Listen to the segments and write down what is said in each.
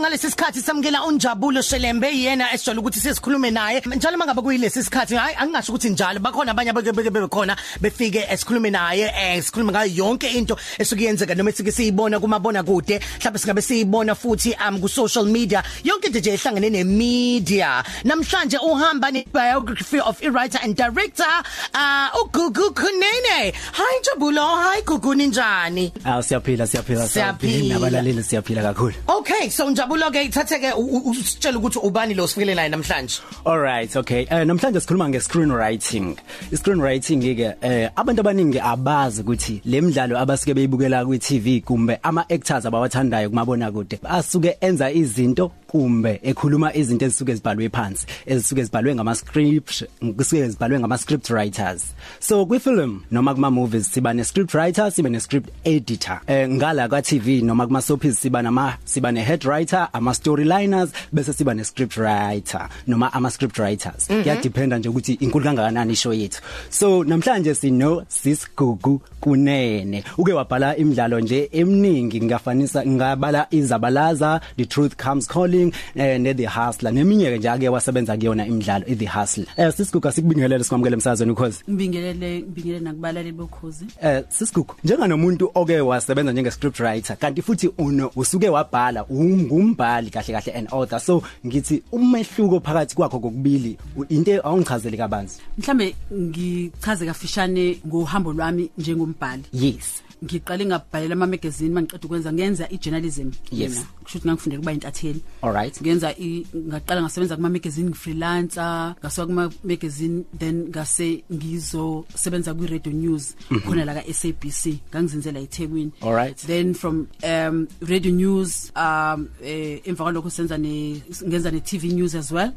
ngalesi sikhathi samukela unjabulo shelembe yena esijwayele ukuthi sizikhulume naye njalo mangabe kuyilesi sikhathi hayi angingasho ukuthi njalo bakhona abanye abake beke bekhona befike esikhulume naye eh sikhulume ngayo yonke into esuke yenzeka noma esike siyibona kumabona kude mhlawumbe singabe siyibona futhi um ku social media yonke into nje ehlangene ne media namhlanje uhamba ne biography of a writer and director uh ugugu kunene hi njabulo hi gugu ninjani Ah siyaphila siyaphila Siyaphila. nabalaleli siyaphila kakhulu. Okay so njabulo ke ithatheke usitshela ukuthi ubani lo sifikele naye namhlanje All right okay. Eh namhlanje sikhuluma nge screenwriting. I screenwriting ke eh abantu abaningi abazi ukuthi lemidlalo abasuke beyibukela kwi TV kumbe ama actors abawathandayo kumabona kude asuke enza izinto kumbe ekhuluma izinto ezisuke zibhalwe phansi ezisuke zibhalwe ngama script kusuke zibhalwe ngama script writers. So kwi film noma kuma movies siba ne script writer sibe ne script editor. Eh ngala kwa TV noma kuma soaps siba nama siba ne head writer, ama storyliners bese siba ne script writer noma ama script writers. Kuyadependa nje ukuthi inkulu kangakanani isho yethu. So namhlanje sino sisigugu kunene. Uke wabhala imidlalo nje eminingi ngafanisa ngabala izabalaza, the truth comes calling eh, ne the hustler. Neminye ke nje ake wasebenza kuyona imidlalo i the hustler. Eh sisigugu sikubingelele sikwamukele emsazweni ukhozi. Ngibingelele ngibingelele nakubalaleli bokhozi. eh sisigugu njengamuntu oke wasebenza njenge script writer kanti futhi uno usuke wabhala ungumbhali kahle kahle an author so ngithi umehluko phakathi kwakho kokubili u- into awungichazeli kabanzi Mhlambe ngichaze kafishane ngohambo lwami njengombhali. yes Ngiqale ngabhalela ama magazine mangiqeda ukwenza ngenza ijournalism. Yes. mina. Kusho ukuthi ngangifundele kuba intatheli. all right Ngenza i ngaqala ngasebenza kuma magazine ngifreelancer, ngasuka kuma magazine then ngase ngizo sebenza kwi radio news Mhm. khona la ka SABC. Ngangizinzela eThekwini. Alright. Then from um radio news um eh emva kwalokho senza ne ngenza ne TV news as well.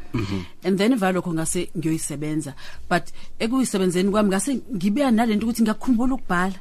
And then emva lokho ngase ngiyoyisebenza. But ekuyisebenzeni kwami ngase ngibe nalento ukuthi ngiyakhumbula ukubhala.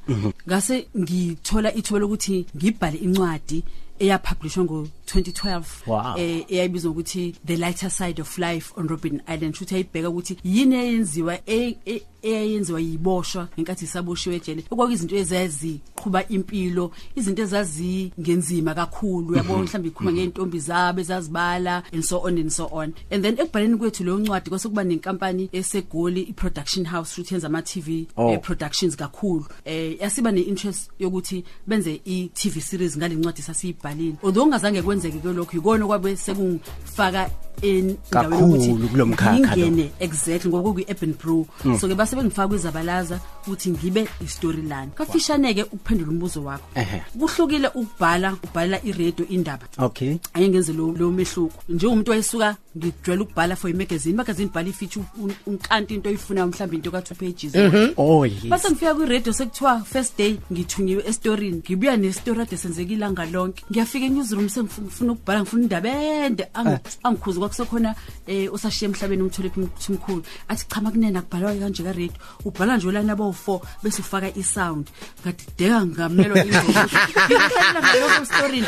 Ngase ngithola ithuba lokuthi ngibhale incwadi eyapublishwa ngo 2012 Wow. eh eyayibizwa ukuthi The Lighter Side of Life on Robin Island futhi ayibheka ukuthi yini eyenziwa e- e- eyayenziwa yiboshwa ngenkathi isaboshiwe ejele okwakuyizinto ezaziqhuba impilo izinto ezazingenzima kakhulu yabo mhlawumbe ikhuluma ngeentombi zabo ezazibala and so on and so on and then ekubhaleni kwethu leyo ncwadi kwasekuba nenkampani esegoli i-production house futhi yenza ama-tv Oh. eh, productions kakhulu eh yasiba neinterest yokuthi benze iTV series ngale ncwadi sasiyibhalile although ngazange kwenzeke kulokho ikona kwabe sekungifaka en- endaweni yokuthi Kakhulu kulo mkhakha lo. Mm. ngingene exactly ngoba kuyi-urban brew so ke base bengifaka izabalaza ukuthi ngibe istoryline kafishaneke ukuphendula umbuzo wakho Ehhe. kuhlukile ukubhala ubhalela iradio indaba okay aye ngenze lo lo mehluko njengomuntu wayesuka ngijwayele ukubhala for imagazine magazine bhala ifeature unkanti into oyifunayo mhlawumbe into ka-two pages oh yes base ngifika kwiradio sekuthiwa first day ngithunyiwe esitorini ngibuya nesitori ade senzeke ilanga lonke ngiyafika enewsroom sengifuna ukubhala ngifuna indaba ende Angi- angikhuze kwakusekhona um osashiye emhlabeni umtholaphimkhulu athi chama kunene akubhalwayo kanje karadio ubhala nje olani abawu-four bese ufaka isound ngadideka ngamelwa ingqoestorini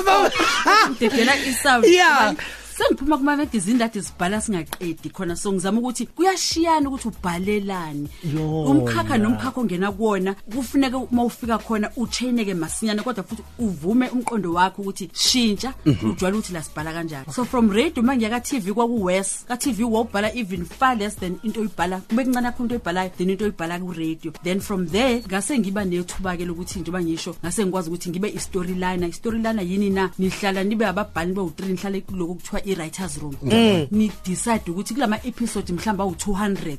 ngidedela isound Yeah. sengiphuma kumamagazini lade sibhala singaqedi khona so ngizama ukuthi kuyashiyana ukuthi ubhalelani Yo, umkhakha yeah. nomkhakha ongena kuwona kufuneka uma ufika khona utshayineke masinyane kodwa futhi uvume umqondo wakho ukuthi shintsha ujwayele ukuthi lasibhala kanjani so from radio uma ngiya ka-tv kwakuwes ka-tv wawubhala even far less than into oyibhala kube kuncane kakhulu into oyibhalayo then into oyibhala kuradio then from there ngase ngiba nethuba-ke lokuthi njengoba ngisho ngase ngikwazi ukuthi ngibe i-storyliner i-storyliner yini na nihlala nibe ababhali nibe u-three nihlale kuloko kuthiwa i-writers room nidicide ukuthi kulama-episode mhlawumbe awu-two hundred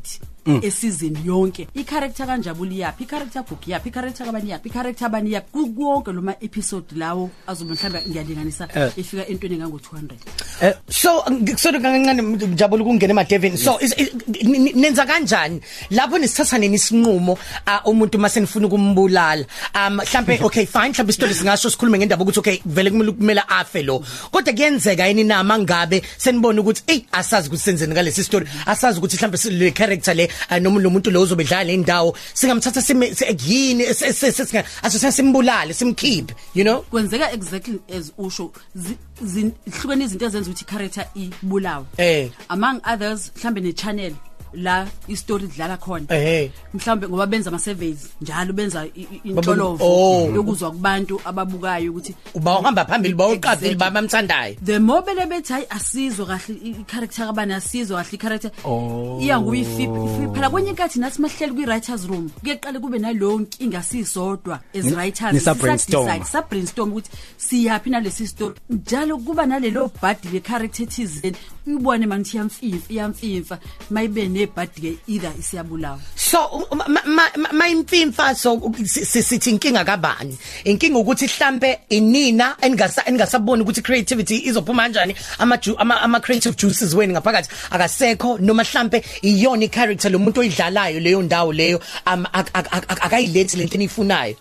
esizini yonke i-character kanjabulo iyaphi i-character gugu yaphi i-character kabani yaphi i-character abani yaphi kukonke loma episode lawo azobe mhlawumbe ngiyalinganisa Eh. efika entweni engango-two hundred eh so ngikusola kancane njabulo ukungena emadeveni so is- is- ni- ni- nenza kanjani lapho nisithatha nini isinqumo ah, umuntu mase nifuna ukumbulala um mhlambe okay fine mhlambe isitori singasho sikhulume ngendaba ukuthi okay vele kumele kumele afe lo kodwa kuyenzeka yini na mangabe senibona ukuthi ey asazi ukuthi senzeni ngalesi story asazi ukuthi mhlambe le character le ah, noma lo muntu lo uzobe dlala le ndawo singamthatha sime se- yini se- se- se- singa- aso simbulale simkhiphe you know kwenzeka exactly as usho zi- zin- zihlukene izinto ezenza ukuthi i-character ibulawe Eh. among others mhlawumbe ne-channel la istori idlala khona Ehhe. mhlawumbe ngoba benza ama-surveys njalo benza i- i- Babe- intsholovo Oh. yokuzwa kubantu ababukayo ukuthi ubawuhamba phambili bawuqapheli Exactly. babamthandayo the more bele bethi hayi asizwe kahle i- i-character kabani asizwe kahle i-character Oh. iya nguba ifipi phela kwenye inkathi nathi masihleli kwi-writers room kuye kuqale kube naloyo nkinga siyisodwa as Ni- writers nisa-brainstorm. sisadecide, sa-brainstorm ukuthi siyaphi nalesi story njalo kuba nalelo bhadi le-character ethizeni uyibone manithi iyamfimfa iyamfimfa mayibe nebhadi-ke either isiyabulawa so um, ma- ma- ma- mayimfimfa so u- si- si- sithi inkinga kabani inkinga ukuthi mhlambe inina engasa engasaboni ukuthi creativity izophuma kanjani ama ju- ama ama creative juices wenu ngaphakathi akasekho noma mhlambe iyona i character lomuntu oyidlalayo leyo ndawo leyo um, ak- ak- ak- ak- akayilethi lento enifunayo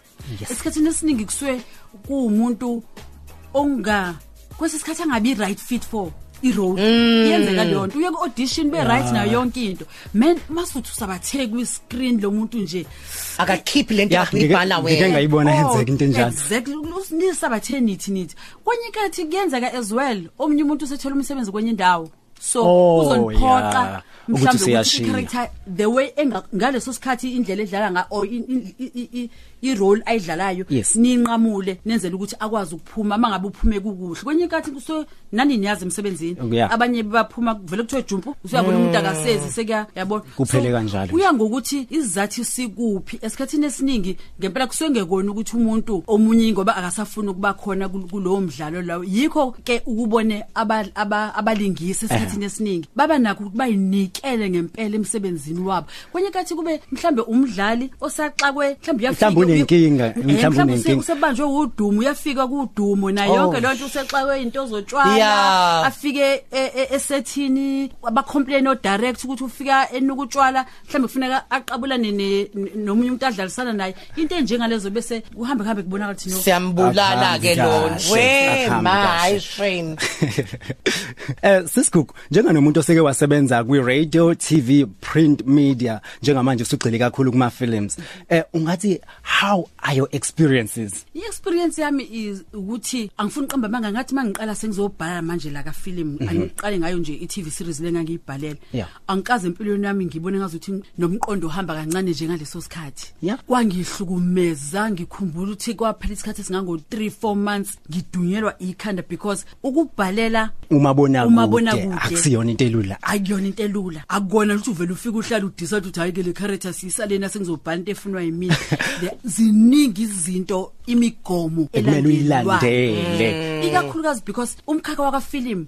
esikhathini esiningi kusuke kuwumuntu onga kwesi sikhathi angabi right fit for i-road iyenzeka leyo nto uye ku-audition be-right nayo yonke into man masuthi usabathe kwi-screen lo muntu nje akakhiphi lento Ya, akuyibhala ngike- ngike wena ngayi- Uyibona yenzeka into enjalo. Eh, oh, exactly Us- nisabathe nithi nithi kwenye inkathi kuyenzeka as well omunye umuntu usethole umsebenzi kwenye indawo so Oh, uzoniphoqa yeah. Ukuthi mhlawumbe ukuthi useyashiya. i-character, the way enga- ngaleso sikhathi indlela edlala nga or i- i- i- i- i- i-role ayidlalayo Yes. ninqamule nenzela ukuthi akwazi ukuphuma uma ngabe uphume kukuhle kwenye inkathi kusuke nani niyazi emsebenzini Yeah. Mm. abanye baphuma vele kuthiwe jumpu usuyabona umuntu akasezi sekuyabona Kuphele kanjalo. kuya ngokuthi isizathu sikuphi esikhathini esiningi ngempela kusengekona ukuthi umuntu omunye ngoba akasafuni ukuba khona kul- kulowo mdlalo lawo yikho ke ukubone aba- aba- abalingisi esikhathini esiningi baba nakho ukuthi bayinikele ngempela emsebenzini wabo kwenye kathi kube mhlawumbe umdlali osaxakwe mhlawumbe Mhlawumbe unenkinga, mhlawumbe unenkinga. usebanjwe Eh, udumo uyafika kudumo nayo Oh. yonke leyo nto usexakwe into zotshwala Yeah. afike e- e- esethini abacomplain odirect ukuthi ufika enuka utshwala mhlawumbe kufuneka aqabulane ne- ne- nomunye umuntu adlalisana naye into enjengalezo bese kuhambe kuhambe kubonakala thina siyambulala ke Akuhambi lona kahle, we akuhambi my kahle. shame eh sisigugu njenganomuntu oseke wasebenza kwi radio TV print media njengamanje usugxile kakhulu kuma films eh ungathi how are your experiences i-experience yami is ukuthi angifuni uqamba amanga ngathi uma ngiqala sengizobhala manje la kafilimu angiqale ngayo nje i-t v series le ngangiyibhalela Yeah. angikaze empilweni yami ngibone ngazuthi nomqondo ohamba kancane njengaleso sikhathi Yeah. kwangihlukumeza ngikhumbula ukuthi kwaphela isikhathi esingango-three four months ngidunyelwa ikhanda because ukubhalela umabona kude Umabonakude. akusiyona into elula akuyona into elula akukona ukuthi uvele ufike uhlale udisade ukuthi hhayi-ke le character siyisaleni asengizobhala into efunwa yimina The- ziningi izinto imigomo Ekumele elandelwa. uyilandele. ikakhulukazi because umkhakha wakafilimu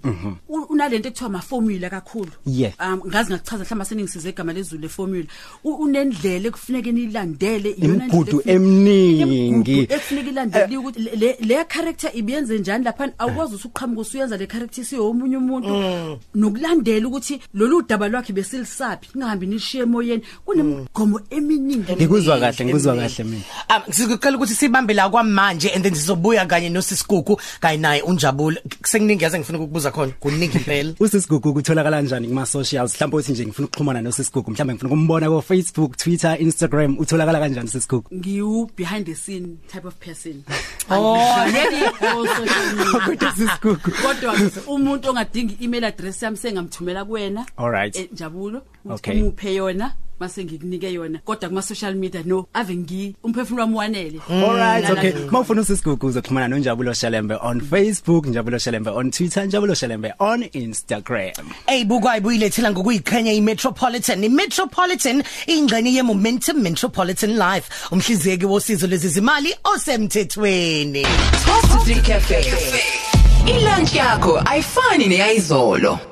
u- unalento ekuthiwa ma-formula kakhulu Yeah. um ngazi ngakuchaza mhlawumbe aseningisize igama lezulu le-formula U- unendlela ekufuneka niyilandele iyona ndlela Imigudu ekufuneka- eminingi. Eh. Imigudu ekufuneka ilandeliwe ukuthi le- le- leya character ibiyenze njani laphana awukwazi ukuthi uqhamuke usuyenza le character isiyomunye Mm. umuntu nokulandela ukuthi lolu daba lwakhe besilisaphi kungahambi nishiye emoyeni kunemigomo eminingi ngikuzwa kahle ngikuzwa kahle mina um sizocela ukuthi sibambe la kwamanje and then sizobuya kanye nosisigugu kanye naye unjabulo sekuningi yaze ngifuna ukukubuza khona kuningi impela usisigugu kutholakala kanjani kuma socials mhlawumbe uthi nje ngifuna ukuxhumana nosisigugu mhlawumbe ngifuna ukumbona ko Facebook Twitter Instagram utholakala kanjani sisigugu ngiwu-behind the scene type of person Oh. Kodwa sisigugu. kodwa umuntu ongadingi i-email address yami sengamthumela kuwena Alright. Eh, njabulo ukuthi Okay. umuphe yona mase ngikunike yona kodwa kuma-social media no ave ngi umphefumulo wami wanele Alright Lana Mm. okay nje. mawufuna usisigugu uzoxhumana noNjabulo Shalembe on Facebook Njabulo Shalembe on Twitter Njabulo Shalembe on Instagram eyibukwa ibuyilethela ngokuyiqhenya i-metropolitan i-metropolitan ingxenye ye-momentum metropolitan life umhlinzeki wosizo lwezizimali osemthethweni Costa Cafe. Ilunch yakho ayifani neyayizolo.